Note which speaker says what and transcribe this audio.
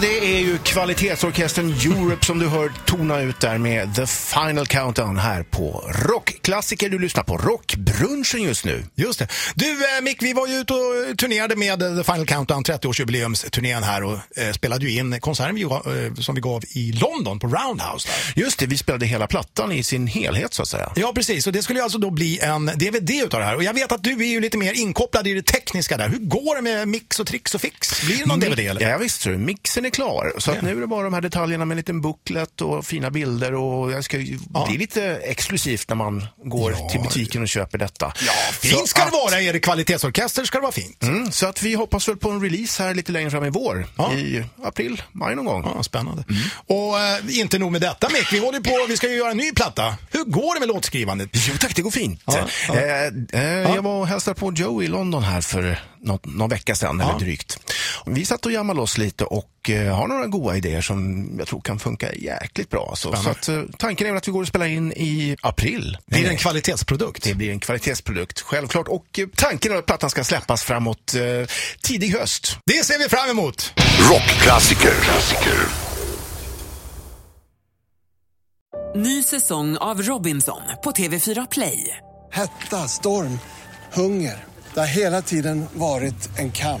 Speaker 1: det är ju kvalitetsorkestern Europe som du hör tona ut där med The Final Countdown här på Rockklassiker. Du lyssnar på Rockbrunchen just nu.
Speaker 2: Just det. Du eh, Mick, vi var ju ute och turnerade med eh, The Final Countdown 30-årsjubileumsturnén här och eh, spelade ju in konserten vi, eh, som vi gav i London på Roundhouse. Där.
Speaker 1: Just det, vi spelade hela plattan i sin helhet så att säga.
Speaker 2: Ja, precis. Och det skulle ju alltså då bli en DVD utav det här. Och jag vet att du är ju lite mer inkopplad i det tekniska där. Hur går det med mix och tricks och fix? Blir det någon DVD eller?
Speaker 1: Ja, visst du, mixen är klar. Så att nu är det bara de här detaljerna med en liten booklet och fina bilder och jag ska ju, det är lite exklusivt när man går till butiken och köper detta. Ja,
Speaker 2: Fint ska det vara, är det kvalitetsorkester ska det vara fint.
Speaker 1: Mm, så att vi hoppas väl på en release här lite längre fram i vår.
Speaker 2: Ja.
Speaker 1: I april, maj någon gång.
Speaker 2: Ja, spännande.
Speaker 1: Mm.
Speaker 2: Och eh, inte nog med detta Mick, vi håller på, vi ska ju göra en ny platta. Hur går det med låtskrivandet?
Speaker 1: Jo tack, det går fint.
Speaker 2: Ja, ja.
Speaker 1: Eh, eh, Jag var och hälsade på Joe i London här för något, någon vecka sedan, eller drygt. Vi satt och jammade loss lite och eh, har några goda idéer som jag tror kan funka jäkligt bra. Så, så att, eh, tanken är väl att vi går och spelar in i april.
Speaker 2: Blir det
Speaker 1: Eh,
Speaker 2: en kvalitetsprodukt?
Speaker 1: det blir en kvalitetsprodukt, självklart. Och eh, tanken är att plattan ska släppas framåt eh, tidig höst.
Speaker 2: Det ser vi fram emot!
Speaker 3: Rockklassiker. Klassiker.
Speaker 4: Ny säsong av Robinson på TV4 Play.
Speaker 5: Hetta, storm, hunger. Det har hela tiden varit en kamp.